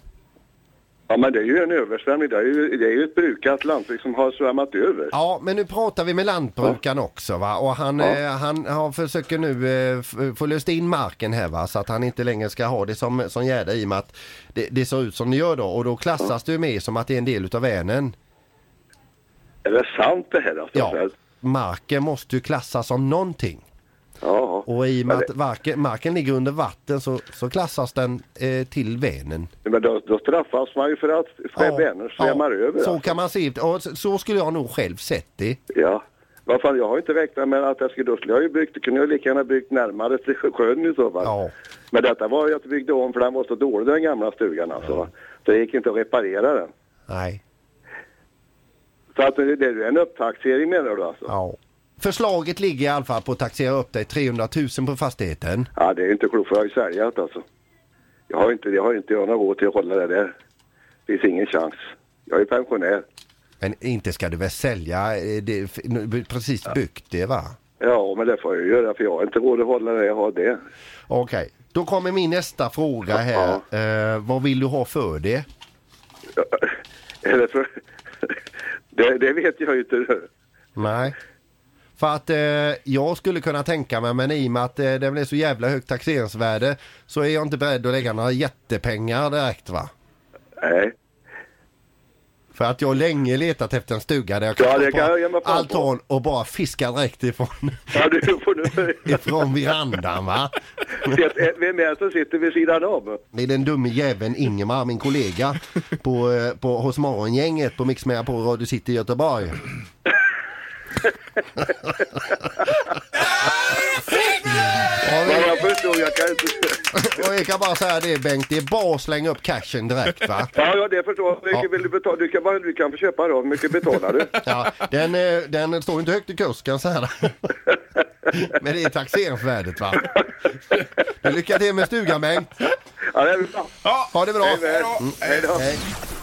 [SPEAKER 8] Ja, men det är ju en översvämning. Det är ju, det är ju ett brukat lantbruk som har svämmat över.
[SPEAKER 3] Ja, men nu pratar vi med lantbrukaren också va? Och han,
[SPEAKER 8] Ja.
[SPEAKER 3] eh, han, han försöker nu eh, f- få löst in marken här va? Så att han inte längre ska ha det som, som gärde i och med att det, det ser ut som det gör då. Och då klassas det ju med som att det är en del utav Vänern.
[SPEAKER 8] Är det sant det här? Alltså?
[SPEAKER 3] Ja, marken måste ju klassas som någonting.
[SPEAKER 8] ja.
[SPEAKER 3] Och i och med
[SPEAKER 8] Men
[SPEAKER 3] att
[SPEAKER 8] det-
[SPEAKER 3] varken, marken ligger under vatten så, så klassas den eh, till Vänern.
[SPEAKER 8] Men då, då straffas man ju för att ja. Vänern svämmar över.
[SPEAKER 3] Så
[SPEAKER 8] alltså.
[SPEAKER 3] kan man se det. Och så- Så skulle jag nog själv sett det.
[SPEAKER 8] Ja. Vad fan, jag har ju inte räknat med att jag skulle... Då skulle jag ju byggt... kunde jag lika gärna byggt närmare till sjön i så fall.
[SPEAKER 3] Ja.
[SPEAKER 8] Men detta var ju att jag byggde om för den var så dålig den gamla stugan alltså. va. Det gick inte att reparera den.
[SPEAKER 3] Nej.
[SPEAKER 8] Så att det det är ju en upptaxering menar du alltså?
[SPEAKER 3] Ja. Förslaget ligger i alla fall på att taxera upp dig 300 000 på fastigheten.
[SPEAKER 8] Ja, det är ju inte klokt för jag har ju säljat alltså. Jag har ju inte, jag har ju inte jag några råd till att hålla det där. Det finns ingen chans. Jag är ju pensionär.
[SPEAKER 3] Men inte ska du väl sälja? eh, Det är f- nu- precis byggt det va?
[SPEAKER 8] Ja, men det får jag ju göra för jag har inte råd att hålla det jag har det.
[SPEAKER 3] Okej, då kommer min nästa fråga här. Eh, vad vill du ha för det?
[SPEAKER 8] Eller för... (laughs) det, det vet jag ju inte. du.
[SPEAKER 3] Nej. För att eh, jag skulle kunna tänka mig, men i och med att eh, det blir så jävla högt taxeringsvärde så är jag inte beredd att lägga några jättepengar direkt va?
[SPEAKER 8] Nej.
[SPEAKER 3] För att jag har länge letat efter en stuga där jag
[SPEAKER 8] Ja,
[SPEAKER 3] kan
[SPEAKER 8] det
[SPEAKER 3] stå
[SPEAKER 8] kan jag ge
[SPEAKER 3] på
[SPEAKER 8] mig fan på.
[SPEAKER 3] altan och bara fiska direkt ifrån,
[SPEAKER 8] Ja, du får nu...
[SPEAKER 3] ifrån verandan va?
[SPEAKER 8] Vet- Vem är det som sitter vid sidan om?
[SPEAKER 3] Det är den dumme jäveln Ingemar, min kollega på, eh, på, hos Morgongänget på Mix Mega på Radio City i Göteborg. Ja,
[SPEAKER 8] Ja,
[SPEAKER 3] men-
[SPEAKER 8] jag förstår, jag kan inte...
[SPEAKER 3] och jag kan bara säga det Bengt, det är bara att slänga upp cashen direkt va?
[SPEAKER 8] Ja, ja, det förstår jag. Hur mycket
[SPEAKER 3] Ja.
[SPEAKER 8] vill du betala? Du kan, bara, du kan få köpa då. Hur mycket betalar du?
[SPEAKER 3] Ja, den, eh, den står inte högt i kurs kan jag säga. Men det är taxeringsvärdet va? Men Lycka till med stugan Bengt!
[SPEAKER 8] Ja, det är bra.
[SPEAKER 3] Ha det bra!
[SPEAKER 8] Hej då. Hej då.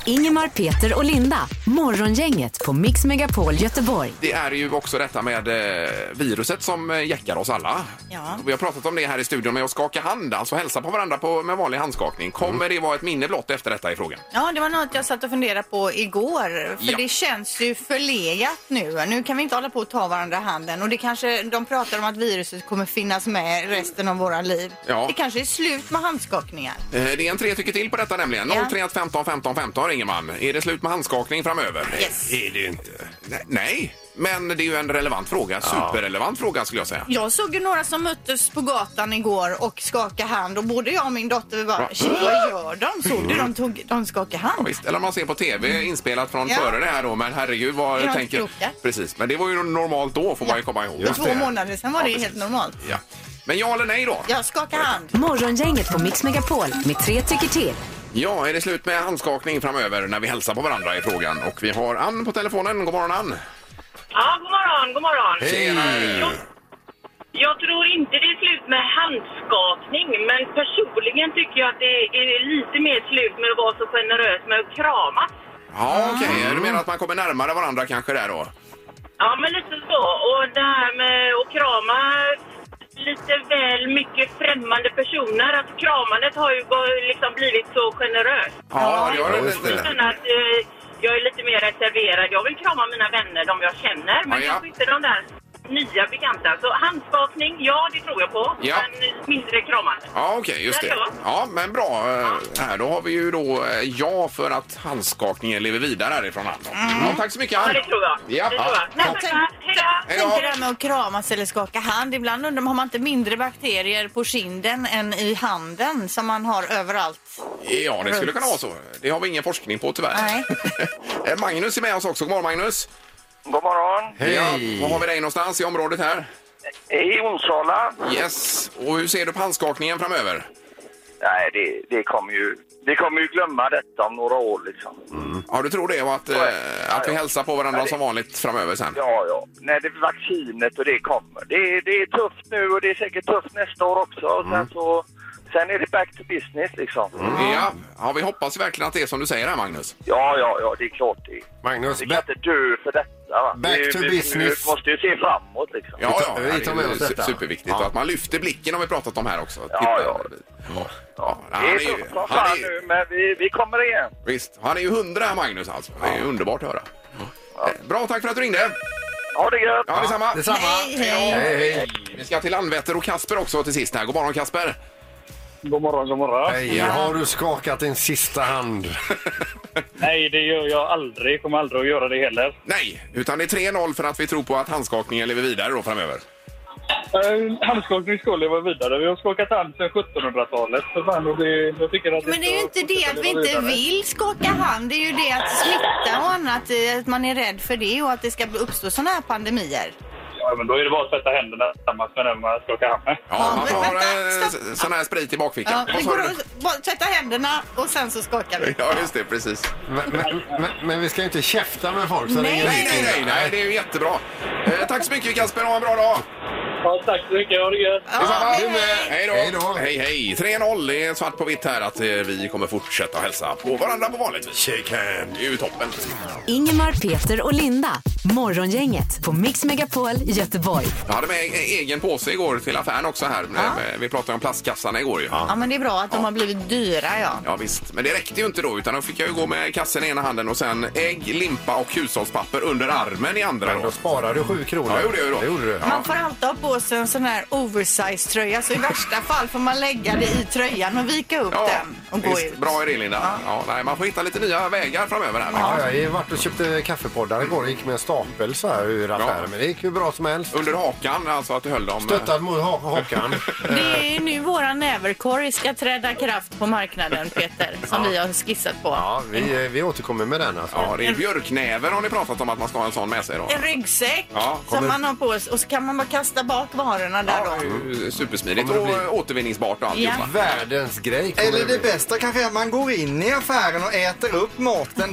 [SPEAKER 1] Ingemar, Peter och Linda. Morgongänget på Mix Megapol Göteborg.
[SPEAKER 2] Det är ju också detta med eh, viruset som eh, jäckar oss alla.
[SPEAKER 4] Ja.
[SPEAKER 2] Vi har pratat om det här i studion med att skaka hand, alltså hälsa på varandra på, med vanlig handskakning. Kommer
[SPEAKER 3] Mm.
[SPEAKER 2] det vara ett minne blott efter detta i frågan?
[SPEAKER 4] Ja, det var något jag satt och funderade på igår. För
[SPEAKER 2] Ja.
[SPEAKER 4] det känns ju förlegat nu. Nu kan vi inte hålla på och ta varandra i handen. Och det kanske, de pratar om att viruset kommer finnas med resten av våra liv.
[SPEAKER 2] Ja.
[SPEAKER 4] Det kanske är slut med handskakningar.
[SPEAKER 2] Eh, Det är en tre tycker till på detta nämligen.
[SPEAKER 4] Ja.
[SPEAKER 2] 031 15 15 15 ringer Ingeman. Är det slut med handskakning framöver?
[SPEAKER 4] Yes.
[SPEAKER 3] Är det ju inte.
[SPEAKER 2] Nej, Nej, men det är ju en relevant fråga. Superrelevant fråga skulle jag säga.
[SPEAKER 4] Jag såg ju några som möttes på gatan igår och skakade hand och både jag och min dotter vi bara, "Shit, vad gör de? Såg du de, tog, de skakade
[SPEAKER 2] Ja,
[SPEAKER 4] hand?
[SPEAKER 2] visst. Eller om man ser på tv inspelat från
[SPEAKER 4] Mm. Ja.
[SPEAKER 2] före det här då. Men herregud vad
[SPEAKER 4] Det
[SPEAKER 2] jag
[SPEAKER 4] var
[SPEAKER 2] tänker.
[SPEAKER 4] inte klokt, ja.
[SPEAKER 2] Precis, men det var ju normalt då får man ju komma ihåg.
[SPEAKER 4] För två månader sedan var det ju helt normalt.
[SPEAKER 2] Ja. Men ja eller nej då?
[SPEAKER 4] Jag skakar hand.
[SPEAKER 1] Morgongänget på Mix Megapol med tre tycker till.
[SPEAKER 2] Ja, är det slut med handskakning framöver när vi hälsar på varandra i frågan? Och vi har Ann på telefonen. God morgon Ann!
[SPEAKER 5] Ja, god morgon, god morgon.
[SPEAKER 2] Tjenare.
[SPEAKER 5] Jag, jag tror inte det är slut med handskakning, men personligen tycker jag att det är lite mer slut med att vara så generös med att kramas.
[SPEAKER 2] Ja, okej.
[SPEAKER 4] Mm.
[SPEAKER 2] Du menar att man kommer närmare varandra kanske där då?
[SPEAKER 5] Ja, men lite så. Och det här med att krama lite väl mycket främmande personer. Att kramandet har ju gå- liksom blivit så generöst.
[SPEAKER 2] Ja, det har
[SPEAKER 3] Ja,
[SPEAKER 2] du
[SPEAKER 3] just det.
[SPEAKER 5] Jag känner att eh, jag är lite mer reserverad. Jag vill krama mina vänner, de jag känner. Men
[SPEAKER 2] Ja, ja.
[SPEAKER 5] kanske inte de där nya bekanta. Så handskakning, ja det tror jag på.
[SPEAKER 2] Ja.
[SPEAKER 5] Men mindre kramande.
[SPEAKER 2] Ja, okej, just det. Ja, men bra. Eh, Här, då har vi ju då eh, ja för att handskakningen lever vidare härifrån Ann. Ja, tack så mycket
[SPEAKER 5] Ja,
[SPEAKER 2] Ann.
[SPEAKER 5] det tror jag.
[SPEAKER 2] Ja.
[SPEAKER 5] Det tror jag. Nej,
[SPEAKER 4] Ja.
[SPEAKER 5] tackar. Hej då!
[SPEAKER 2] Hej
[SPEAKER 4] Tänk
[SPEAKER 2] då.
[SPEAKER 4] det där med att kramas eller skaka hand. Ibland undrar man, har man inte mindre bakterier på kinden än i handen som man har överallt?
[SPEAKER 2] Ja, det skulle kunna vara så. Det har vi ingen forskning på tyvärr.
[SPEAKER 4] Nej.
[SPEAKER 2] (laughs) Eh, Magnus är med oss också. God morgon Magnus!
[SPEAKER 6] God morgon.
[SPEAKER 2] Ja, var har vi dig någonstans i området här?
[SPEAKER 6] I Onsala.
[SPEAKER 2] Yes. Och hur ser du på handskakningen framöver?
[SPEAKER 6] Nej, det, det kommer ju... Vi kommer ju glömma detta om några år liksom.
[SPEAKER 2] Ja, du tror det och att, eh,
[SPEAKER 6] Ja,
[SPEAKER 2] att vi
[SPEAKER 6] ja.
[SPEAKER 2] hälsar på varandra
[SPEAKER 6] Ja, det-
[SPEAKER 2] som vanligt framöver sen?
[SPEAKER 6] Ja, ja. När det vaccinet och det kommer. Det, det är tufft nu och det är säkert tufft nästa år också. Och Sen, så, sen är det back to business liksom.
[SPEAKER 2] Mm. Ja. ja, vi hoppas verkligen att det är som du säger här Magnus.
[SPEAKER 6] Ja, ja, ja. Det är klart det.
[SPEAKER 3] Magnus,
[SPEAKER 6] Vi kan inte dö för detta. Va?
[SPEAKER 3] Back
[SPEAKER 6] vi,
[SPEAKER 3] to
[SPEAKER 6] vi,
[SPEAKER 3] business.
[SPEAKER 6] Vi måste ju se framåt liksom.
[SPEAKER 2] Ja,
[SPEAKER 3] Vi
[SPEAKER 2] ja,
[SPEAKER 3] tar- vi tar med oss
[SPEAKER 2] det är ju
[SPEAKER 3] detta.
[SPEAKER 2] superviktigt.
[SPEAKER 3] Ja.
[SPEAKER 2] Och att man lyfter blicken har vi pratat om här också.
[SPEAKER 6] Ja,
[SPEAKER 2] Titta.
[SPEAKER 6] ja.
[SPEAKER 2] Ja, han
[SPEAKER 6] det är
[SPEAKER 2] är ju-
[SPEAKER 6] tufft som
[SPEAKER 2] han är
[SPEAKER 6] fan
[SPEAKER 2] ju-
[SPEAKER 6] nu, men vi, vi kommer igen.
[SPEAKER 2] Visst, han är ju hundra Magnus alltså. Det är ju underbart att höra. Eh, Bra, tack för att du ringde.
[SPEAKER 6] Ha det gött!
[SPEAKER 2] Ja, detsamma.
[SPEAKER 3] Detsamma.
[SPEAKER 4] Hej, hej.
[SPEAKER 3] Hej, hej.
[SPEAKER 2] Vi ska till Landvetter och Kasper också till sist här. God morgon Kasper!
[SPEAKER 9] God morgon, god morgon.
[SPEAKER 3] Hej, har du skakat din sista hand?
[SPEAKER 9] Nej, det gör jag aldrig. Kommer aldrig att göra det heller.
[SPEAKER 2] Nej, utan det är 3-0 för att vi tror på att handskakningen lever vidare då framöver.
[SPEAKER 9] Eh, handskakning ska leva vidare. Vi har skakat hand sedan 1700-talet. För fan, och det, jag tycker att
[SPEAKER 4] Men det är ju
[SPEAKER 9] ska
[SPEAKER 4] inte det
[SPEAKER 9] fortsätta
[SPEAKER 4] att vi
[SPEAKER 9] leva
[SPEAKER 4] inte
[SPEAKER 9] vidare.
[SPEAKER 4] vill skaka hand. Det är ju det att smitta och annat, eh, att man är rädd för det och att det ska uppstå sådana här pandemier.
[SPEAKER 9] Ja, men då är det bara att tvätta händerna tillsammans med den man skakar hand med.
[SPEAKER 2] Ja, man
[SPEAKER 4] men
[SPEAKER 2] får
[SPEAKER 4] vänta,
[SPEAKER 2] ha eh,
[SPEAKER 4] stopp.
[SPEAKER 2] s- sån här sprit i bakfickan.
[SPEAKER 4] Ja,
[SPEAKER 2] Vad
[SPEAKER 4] vi
[SPEAKER 2] sa
[SPEAKER 4] går
[SPEAKER 2] du?
[SPEAKER 4] och bara tvättar händerna och sen så skakar vi.
[SPEAKER 2] (laughs) Ja, just det, precis.
[SPEAKER 3] Men, men, men, men vi ska ju inte käfta med folk. Så
[SPEAKER 4] Nej.
[SPEAKER 3] ringer
[SPEAKER 2] Nej,
[SPEAKER 3] hit.
[SPEAKER 2] nej, nej, nej, det är ju jättebra. Eh, tack så mycket Kasper, ha en bra dag!
[SPEAKER 9] Ja, tack så mycket. Ha det gött.
[SPEAKER 2] Detsamma.
[SPEAKER 4] hej, hej.
[SPEAKER 2] Hej då!
[SPEAKER 3] Hej då.
[SPEAKER 2] Hej, hej! 3-0, det är svart på vitt här att eh, vi kommer fortsätta hälsa på varandra på vanligt vis. Shake hand! Det är ju toppen.
[SPEAKER 1] Ingemar, Peter och Linda. Morgongänget på Mix Megapol Göteborg.
[SPEAKER 2] Jag hade med e- egen påse igår till affären också här. Eh, Vi pratade om plastkassan igår ju.
[SPEAKER 4] Ja, men det är bra att de har blivit dyra, ja.
[SPEAKER 2] Ja visst, men det räckte ju inte då utan då fick jag ju gå med kassen i ena handen och sen ägg, limpa och hushållspapper under armen i andra
[SPEAKER 3] Men
[SPEAKER 2] då.
[SPEAKER 3] då sparar du sju kronor.
[SPEAKER 2] Ja, det gjorde jag ju då.
[SPEAKER 3] Det gjorde du.
[SPEAKER 4] Man får alltid ha på sig en sån här oversized tröja så i värsta fall får man lägga det i tröjan och vika upp den och gå
[SPEAKER 2] visst,
[SPEAKER 4] ut.
[SPEAKER 2] Bra idé Linda. Ja. nej, man får hitta lite nya vägar framöver här.
[SPEAKER 3] Ja, jag har ju varit och köpte kaffepoddar igår och gick med en stapel så här ur affären.
[SPEAKER 2] Ja.
[SPEAKER 3] Men det gick ju bra som helst.
[SPEAKER 2] Under hakan, alltså att du höll dem.
[SPEAKER 3] Stöttat mot ha- hakan.
[SPEAKER 4] Det är nu våra näverkorg ska träda kraft på marknaden, Peter, som vi har skissat på.
[SPEAKER 3] Ja, vi, eh, vi återkommer med den alltså.
[SPEAKER 2] Ja, det är björknäver har ni pratat om att man ska ha en sån med sig då.
[SPEAKER 4] En ryggsäck
[SPEAKER 2] Ja,
[SPEAKER 4] som man har på sig och så kan man bara kasta bak varorna där
[SPEAKER 2] Ja,
[SPEAKER 4] då.
[SPEAKER 2] det är ju supersmidigt
[SPEAKER 3] Kommer
[SPEAKER 2] och
[SPEAKER 3] det bli-
[SPEAKER 2] eh, återvinningsbart och alltihopa.
[SPEAKER 3] Världens grej kommer
[SPEAKER 7] Eller det
[SPEAKER 3] bli.
[SPEAKER 7] bästa kanske är att man går in i affären och äter upp maten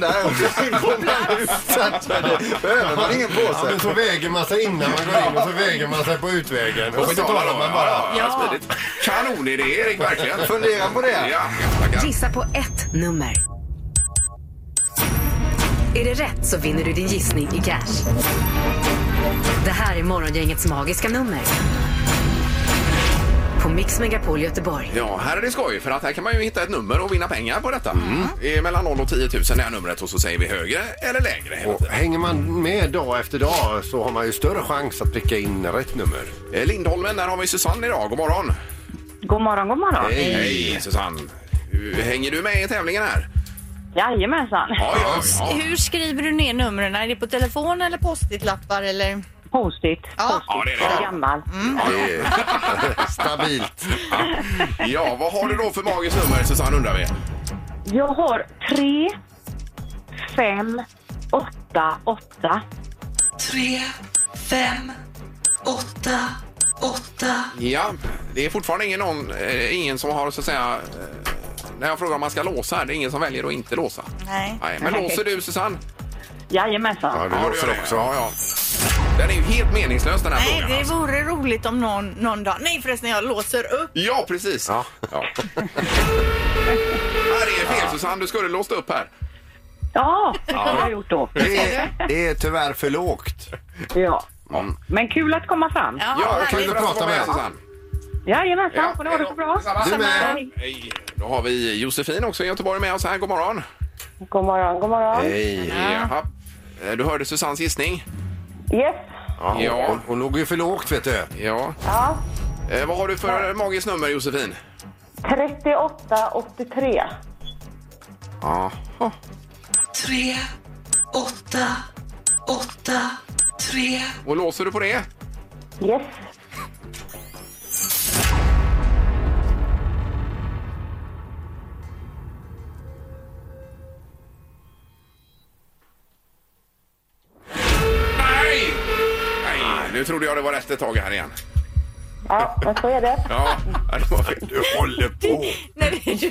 [SPEAKER 2] (laughs)
[SPEAKER 7] där. (laughs) Och så går man ut sen. Så det behöver man ingen
[SPEAKER 3] Ja,
[SPEAKER 7] påse.
[SPEAKER 3] men så väger man sig innan man går in och så väger man sig på utvägen. Och
[SPEAKER 2] Och
[SPEAKER 3] så
[SPEAKER 2] betala
[SPEAKER 3] betalar
[SPEAKER 2] då.
[SPEAKER 3] man
[SPEAKER 2] Ja,
[SPEAKER 3] bara.
[SPEAKER 2] ja,
[SPEAKER 4] Ja.
[SPEAKER 2] smidigt. Kanonidé Erik, verkligen. (laughs)
[SPEAKER 7] Fundera på det.
[SPEAKER 2] Ja, tackar.
[SPEAKER 1] Gissa på ett nummer. Är det rätt så vinner du din gissning i cash. Det här är Morgongängets magiska nummer. På Mix Megapol Göteborg.
[SPEAKER 2] Ja, här är det skoj för att här kan man ju hitta ett nummer och vinna pengar på detta. Det är mellan 0 och 10 000 det här numret och så säger vi högre eller lägre. hela
[SPEAKER 3] Och
[SPEAKER 2] tiden.
[SPEAKER 3] hänger man med dag efter dag så har man ju större chans att pricka in rätt nummer.
[SPEAKER 2] Eh, Lindholmen, där har vi Susanne idag. God morgon!
[SPEAKER 5] God morgon, god morgon.
[SPEAKER 2] Hej! Susanne! Hur- Hänger du med i tävlingen här?
[SPEAKER 5] Jajamensan.
[SPEAKER 2] Ja, ja, ja.
[SPEAKER 4] Hur skriver du ner numren? Är det på telefon eller post-it-lappar eller?
[SPEAKER 5] Post-it.
[SPEAKER 4] Ja.
[SPEAKER 2] Ja, det är
[SPEAKER 5] Jag är
[SPEAKER 2] det.
[SPEAKER 5] gammal.
[SPEAKER 3] Det är stabilt.
[SPEAKER 2] Ja, vad har du då för magiskt nummer, Susanne, undrar vi?
[SPEAKER 5] Jag har tre, fem, åtta, åtta.
[SPEAKER 2] Ja, det är fortfarande ingen, någon, eh, ingen som har så att säga... Eh, när jag frågar om man ska låsa här, det är ingen som väljer att inte låsa.
[SPEAKER 4] Nej.
[SPEAKER 2] Nej, men låser du Susanne?
[SPEAKER 3] Ja,
[SPEAKER 5] Jajamensan.
[SPEAKER 3] det
[SPEAKER 2] du
[SPEAKER 3] låser
[SPEAKER 2] gör det.
[SPEAKER 3] också.
[SPEAKER 2] Ja, ja. Den är ju helt meningslös den här
[SPEAKER 4] Nej,
[SPEAKER 2] frågan.
[SPEAKER 4] det
[SPEAKER 2] alltså.
[SPEAKER 4] vore roligt om någon, någon dag... Nej förresten, jag låser upp.
[SPEAKER 2] Ja, precis.
[SPEAKER 3] Ja.
[SPEAKER 2] (laughs) här är fel Susanne, du skulle låst upp här.
[SPEAKER 5] Ja, det har jag gjort då.
[SPEAKER 3] Det är, det är tyvärr för lågt.
[SPEAKER 5] Ja. Men kul att komma fram.
[SPEAKER 2] Mm. Ja,
[SPEAKER 4] härligt.
[SPEAKER 2] kul
[SPEAKER 3] du
[SPEAKER 2] att
[SPEAKER 3] prata
[SPEAKER 2] vara
[SPEAKER 3] med henne?
[SPEAKER 2] Susanne.
[SPEAKER 5] Jajamensan, får ni ha det så bra.
[SPEAKER 3] Du med.
[SPEAKER 2] Hej. Då har vi Josefin också i Göteborg med oss här. God morgon.
[SPEAKER 5] God morgon, god morgon.
[SPEAKER 3] Hej.
[SPEAKER 2] Jaha. Eh, Du hörde Susannes gissning?
[SPEAKER 5] Yes.
[SPEAKER 3] Ja,
[SPEAKER 2] Ja.
[SPEAKER 3] Hon, hon låg ju för lågt, vet du.
[SPEAKER 2] Ja.
[SPEAKER 5] Ja.
[SPEAKER 2] Eh, vad har du för magiskt nummer Josefin?
[SPEAKER 5] 38, 83.
[SPEAKER 2] Jaha. Och låser du på det?
[SPEAKER 5] Yes.
[SPEAKER 2] Nej! Nej, nu trodde jag det var rätt ett tag här igen.
[SPEAKER 5] Ja, men så är det.
[SPEAKER 2] Ja, (laughs) det var fel. Du håller på.
[SPEAKER 4] Nej, det, är du,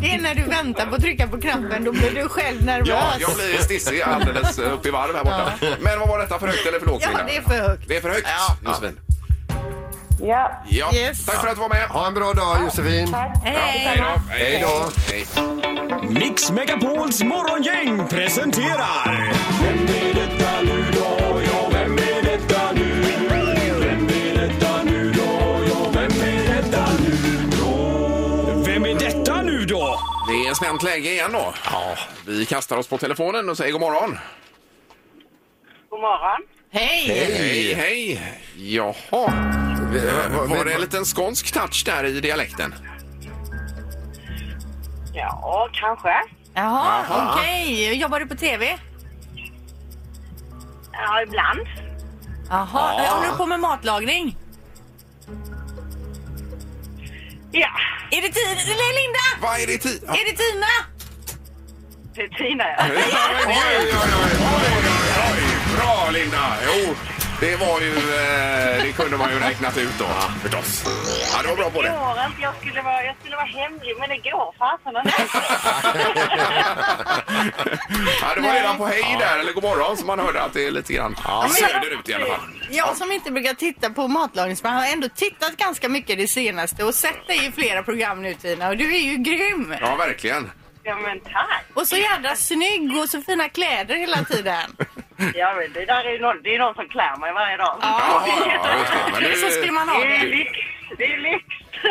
[SPEAKER 4] det är när du väntar på att trycka på knappen, då blir du själv nervös.
[SPEAKER 2] Ja, jag blir stissig alldeles upp i varv här borta. Men vad var detta för högt eller för lågt?
[SPEAKER 4] Ja,
[SPEAKER 2] Linda?
[SPEAKER 4] det är för högt.
[SPEAKER 2] Det är för högt,
[SPEAKER 4] Ja.
[SPEAKER 2] Josefin.
[SPEAKER 5] Ja.
[SPEAKER 2] Ja.
[SPEAKER 4] Yes.
[SPEAKER 2] Tack för att du var med.
[SPEAKER 3] Ha en bra dag, Josefin.
[SPEAKER 2] Hej då. Hej då. Hej.
[SPEAKER 10] Mix Megapols morgongäng presenterar... Vem är detta nu då? Ja, vem är detta nu? Vem är detta nu då? Ja, vem är detta nu då? Vem är detta nu då?
[SPEAKER 2] Det är spänt läge igen då. Ja. Vi kastar oss på telefonen och säger god morgon.
[SPEAKER 5] God morgon.
[SPEAKER 4] Hej!
[SPEAKER 2] Hej, hej. Jaha. Eh, Var det en liten skånsk touch där i dialekten?
[SPEAKER 5] Ja, kanske.
[SPEAKER 4] Jaha,
[SPEAKER 2] Jaha.
[SPEAKER 4] okej. Jobbar du på TV?
[SPEAKER 5] Ja, ibland.
[SPEAKER 4] Jaha, jag håller du på med matlagning?
[SPEAKER 5] Ja,
[SPEAKER 4] Är det Tina? Nej, Linda!
[SPEAKER 2] Vad är det i tid?
[SPEAKER 4] Är det Tina?
[SPEAKER 5] det är Tina. ja.
[SPEAKER 2] Oj, oj, oj, oj, oj, oj. Bra, Linda! Jo, det var ju... eh, Det kunde man ju räknat ut då, förstås. Ja, det var bra på
[SPEAKER 5] Det
[SPEAKER 2] det.
[SPEAKER 5] går inte. Jag skulle vara, jag skulle vara hemlig, men det går fasen inte.
[SPEAKER 2] ja, det var redan på hej där, eller god morgon, som man hörde att det är lite grann söderut i alla fall.
[SPEAKER 4] Jag som inte brukar titta på matlagningsprogram har ändå tittat ganska mycket det senaste och sett dig i flera program nu Tina och du är ju grym!
[SPEAKER 2] Ja, verkligen.
[SPEAKER 5] Ja, men tack.
[SPEAKER 4] Och så jädra snygg och så fina kläder hela (laughs) tiden.
[SPEAKER 5] Ja, men det där är ju någon, det är någon som klär mig varje dag.
[SPEAKER 4] Ja. Eh,
[SPEAKER 2] Ja, just det. Men
[SPEAKER 4] Så skulle man ha
[SPEAKER 5] Det är
[SPEAKER 4] det.
[SPEAKER 5] lyx. Det är lyx.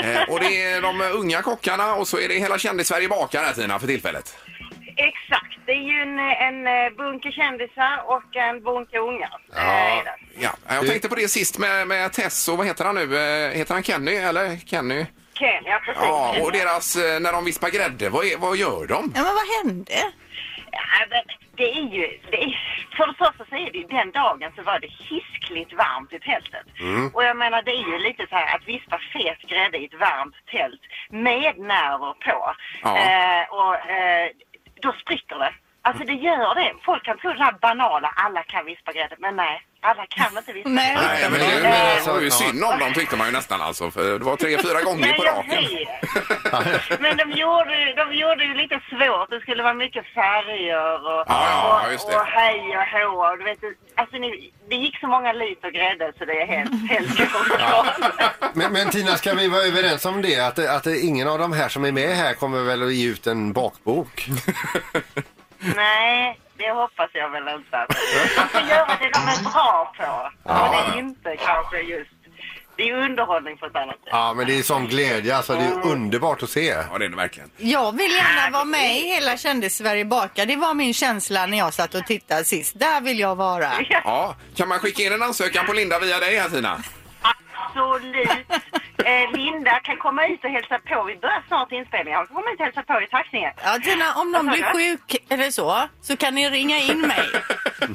[SPEAKER 2] Eh, Och det är de unga kockarna och så är det hela kändis-Sverige bakar här Tina för tillfället.
[SPEAKER 5] Exakt. Det är ju en, en eh, bunke kändisar och en bunke ungar. Eh, är det.
[SPEAKER 2] Ja, jag tänkte på det sist med, med Tess och vad heter han nu? Eh, Heter han Kenny eller Kenny?
[SPEAKER 5] Ken, ja precis.
[SPEAKER 2] Ja, och deras, eh, när de vispar grädde, vad, är, vad gör de?
[SPEAKER 4] Ja, men vad hände?
[SPEAKER 5] Ja, men det är ju... Det är, för det första så är det ju den dagen så var det hiskligt varmt i tältet.
[SPEAKER 2] Mm.
[SPEAKER 5] Och jag menar det är ju lite så här att vispa fet grädde i ett varmt tält med nerver på.
[SPEAKER 2] Ja.
[SPEAKER 5] Eh, och eh, då spricker det. Alltså det gör det. Folk kan tro det här banala, alla kan vispa grädde. Men nej, alla kan inte vispa
[SPEAKER 4] Nej.
[SPEAKER 5] grädde.
[SPEAKER 2] Nej, men det,
[SPEAKER 3] men-
[SPEAKER 2] det
[SPEAKER 3] alltså,
[SPEAKER 2] var ju
[SPEAKER 3] ja.
[SPEAKER 2] synd om dem tyckte man ju nästan alltså. För det var tre, fyra gånger
[SPEAKER 5] Nej,
[SPEAKER 2] på
[SPEAKER 5] jag
[SPEAKER 2] raken. (laughs)
[SPEAKER 5] vet. Men de gjorde, ju- de gjorde ju lite svårt. Det skulle vara mycket färger och,
[SPEAKER 2] ja,
[SPEAKER 5] och,
[SPEAKER 2] just det.
[SPEAKER 5] och hej och hå. Du vet, alltså, ni, det gick så många liter grädde så det är
[SPEAKER 2] (laughs)
[SPEAKER 5] helt, helt
[SPEAKER 3] Men, men Tina, ska vi vara överens om det? Att, att ingen av de här som är med här kommer väl att ge ut en bakbok?
[SPEAKER 5] Nej, det hoppas jag väl inte. att- De ska göra det de är bra på. Och det är inte kanske just... Det är underhållning på ett annat sätt.
[SPEAKER 3] Ja, men det är sån glädje. Alltså, det är underbart att se.
[SPEAKER 2] Ja, det är det verkligen.
[SPEAKER 4] Jag vill gärna vara med i hela Kändis-Sverige bakar. Det var min känsla när jag satt och tittade sist. Där vill jag vara.
[SPEAKER 2] Ja, kan man skicka in en ansökan på Linda via dig här Tina?
[SPEAKER 5] Absolut. Eh, Linda kan komma ut och hälsa på. Vi börjar snart inspelningen. Hon kan komma ut och hälsa på i taxningen.
[SPEAKER 11] Ja, Tina, om någon
[SPEAKER 5] Vad
[SPEAKER 11] blir
[SPEAKER 5] sa du?
[SPEAKER 11] sjuk eller så, så kan ni ringa in mig.
[SPEAKER 5] Ja,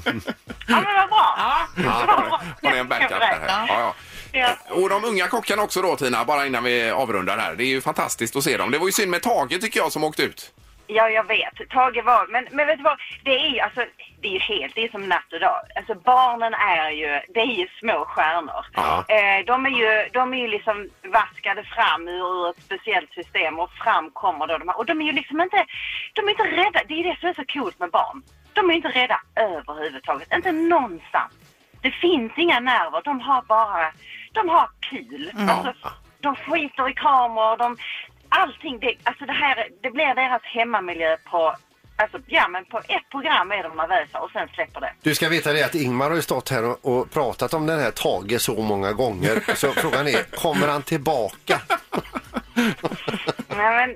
[SPEAKER 5] men vad bra.
[SPEAKER 2] Ja, hon är- hon är en backup där. här. Ja, ja.
[SPEAKER 5] Ja.
[SPEAKER 2] Och de unga kockarna också då Tina, bara innan vi avrundar här. Det är ju fantastiskt att se dem. Det var ju synd med Tage tycker jag som åkte ut.
[SPEAKER 5] Ja, jag vet. Tage var... Men, men vet du vad? Det är ju alltså, det är ju helt... Det är som natt och dag. Alltså barnen är ju... Det är ju små stjärnor.
[SPEAKER 12] Ja.
[SPEAKER 5] Eh, de är ju, de är ju liksom vaskade fram ur ett speciellt system och fram kommer då de här. Och de är ju liksom inte... De är inte rädda. Det är det som är så coolt med barn. De är inte rädda överhuvudtaget. Inte någonstans. Det finns inga nerver. De har bara... De har kul.
[SPEAKER 12] Mm.
[SPEAKER 5] Alltså, de skiter i kameror. De, allting. Det, alltså det, här, det blir deras hemmamiljö på... Alltså, ja, men på ett program är de nervösa och sen släpper det.
[SPEAKER 3] Du ska veta det att Ingmar har ju stått här och, och pratat om den här Tage så många gånger. Så frågan är, kommer han tillbaka?
[SPEAKER 5] Nej, men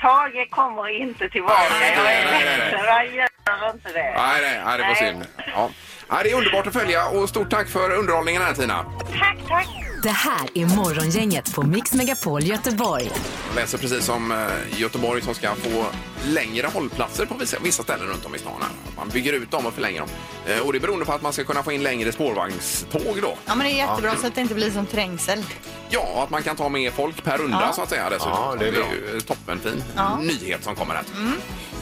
[SPEAKER 5] Tage kommer inte tillbaka. Jag är ledsen. Han gör inte det.
[SPEAKER 2] Nej, nej, nej det var synd. Ja. Nej, det är underbart att följa och stort tack för underhållningen här Tina.
[SPEAKER 5] Tack, tack.
[SPEAKER 1] Det här är Morgongänget på Mix Megapol Göteborg.
[SPEAKER 2] Jag läser precis om eh, Göteborg som ska få längre hållplatser på vissa, vissa ställen runt om i stan. här. Man bygger ut dem och förlänger dem. Eh, Och det är beroende på att man ska kunna få in längre spårvagnståg då.
[SPEAKER 4] Ja, men det är jättebra
[SPEAKER 2] Ja.
[SPEAKER 4] så att det inte blir som trängsel.
[SPEAKER 2] Ja, och att man kan ta med folk per runda
[SPEAKER 4] Ja.
[SPEAKER 2] så att säga dessutom.
[SPEAKER 3] Ja, det är bra.
[SPEAKER 2] ju eh, toppenfin
[SPEAKER 4] Ja.
[SPEAKER 2] nyhet som kommer här.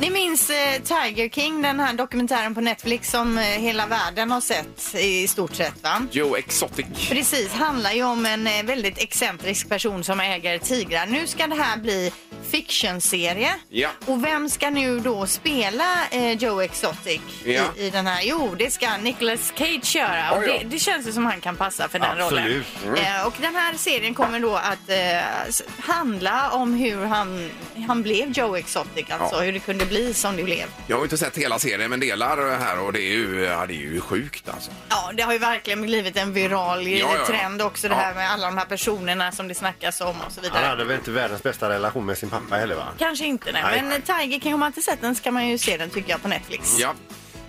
[SPEAKER 4] Ni minns eh, Tiger King, den här dokumentären på Netflix som eh, hela världen har sett i stort sett va?
[SPEAKER 2] Joe Exotic.
[SPEAKER 4] Precis, handlar ju om en eh, väldigt excentrisk person som äger tigrar. Nu ska det här bli fictionserie.
[SPEAKER 2] Ja.
[SPEAKER 4] Och vem ska nu då spela eh, Joe Exotic
[SPEAKER 2] Ja.
[SPEAKER 4] i, i den här? Jo, det ska Nicolas Cage göra. Och
[SPEAKER 11] Oj då.
[SPEAKER 4] det, det känns ju som han kan passa för den
[SPEAKER 11] Absolut.
[SPEAKER 4] rollen.
[SPEAKER 11] Mm.
[SPEAKER 4] Eh, och den här serien kommer då att eh, s- handla om hur han, han blev Joe Exotic, alltså
[SPEAKER 2] Ja.
[SPEAKER 4] hur det kunde bli som det blev.
[SPEAKER 2] Jag har ju inte sett hela serien men delar här och det är ju, ja, det är ju sjukt alltså.
[SPEAKER 4] Ja, det har ju verkligen blivit en viral
[SPEAKER 2] Ja, ja, ja.
[SPEAKER 4] trend också det här med alla de här personerna som det snackas om och så
[SPEAKER 3] Han
[SPEAKER 4] vidare.
[SPEAKER 3] hade väl inte världens bästa relation med sin pappa heller va?
[SPEAKER 4] Kanske inte, nej.
[SPEAKER 3] Nej.
[SPEAKER 4] men Tiger King, om man inte sett den ska man ju se den tycker jag på Netflix.
[SPEAKER 2] Ja.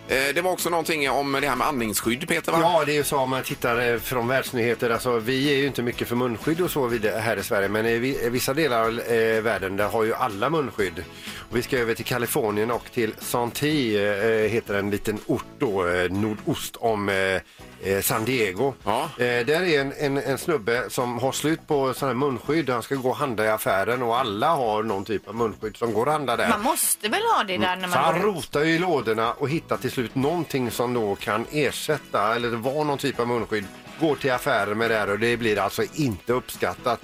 [SPEAKER 2] Eh, Det var också någonting om det här med andningsskydd Peter va?
[SPEAKER 3] Ja, det är ju så om man tittar eh, från världsnyheter. Alltså, vi är ju inte mycket för munskydd och så vid- här i Sverige, men i vi- i vissa delar av eh, världen där har ju alla munskydd. Och vi ska över till Kalifornien och till Santee, eh, heter en liten ort då, eh, nordost om eh, eh, San Diego. Eh, där är en, en, en snubbe som har slut på sådana här munskydd. Han ska gå och handla i affären och alla har någon typ av munskydd som går att handla där.
[SPEAKER 4] Man måste väl ha det där när
[SPEAKER 3] Så han
[SPEAKER 4] man går ut?
[SPEAKER 3] rotar ju i lådorna och hittar till slut någonting som då kan ersätta eller vara någon typ av munskydd. Går till affärer med det här och det blir alltså inte uppskattat.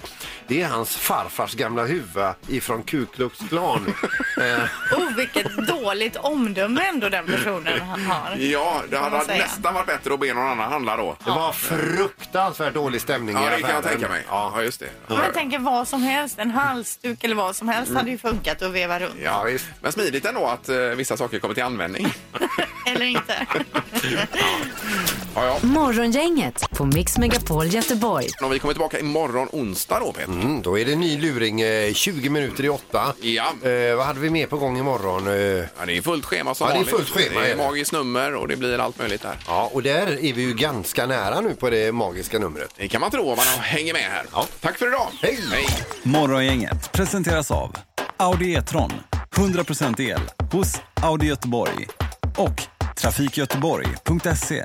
[SPEAKER 3] Det är hans farfars gamla huva ifrån Ku Klux
[SPEAKER 2] (laughs)
[SPEAKER 3] Klan. Eh,
[SPEAKER 4] Oh, vilket dåligt omdöme ändå den personen han har.
[SPEAKER 2] Ja, det
[SPEAKER 4] kan man
[SPEAKER 2] hade
[SPEAKER 4] säga.
[SPEAKER 2] nästan varit bättre att be någon annan handla då.
[SPEAKER 3] Det var fruktansvärt dålig stämning i
[SPEAKER 2] Ja, det
[SPEAKER 3] affären.
[SPEAKER 2] kan jag tänka mig. Ja, just det.
[SPEAKER 4] Man tänker vad som helst, en halsduk eller vad som helst
[SPEAKER 2] Mm.
[SPEAKER 4] hade ju funkat att veva runt.
[SPEAKER 2] Ja, Men smidigt ändå att eh, vissa saker kommer till användning.
[SPEAKER 4] Eller inte.
[SPEAKER 2] (laughs) Ja, ja.
[SPEAKER 1] Morgongänget på Mix Megapol Göteborg.
[SPEAKER 2] Och vi kommer tillbaka imorgon onsdag då Peter.
[SPEAKER 3] Mm, då är det ny luring eh, 20 minuter i åtta.
[SPEAKER 2] Ja.
[SPEAKER 3] Eh, vad hade vi mer på gång imorgon? Eh,
[SPEAKER 2] Ja, det är fullt schema som
[SPEAKER 3] Ja, det är
[SPEAKER 2] vanligt.
[SPEAKER 3] fullt schema,
[SPEAKER 2] Det
[SPEAKER 3] är
[SPEAKER 2] är
[SPEAKER 3] det.
[SPEAKER 2] magiskt nummer och det blir allt möjligt där.
[SPEAKER 3] ja, och där är vi ju ganska nära nu på det magiska numret.
[SPEAKER 2] Det kan man tro om man hänger med här. Tack för idag! Hej.
[SPEAKER 13] Morgongänget presenteras av Audi E-tron. 100% el hos Audi Göteborg. Och trafikgöteborg.se.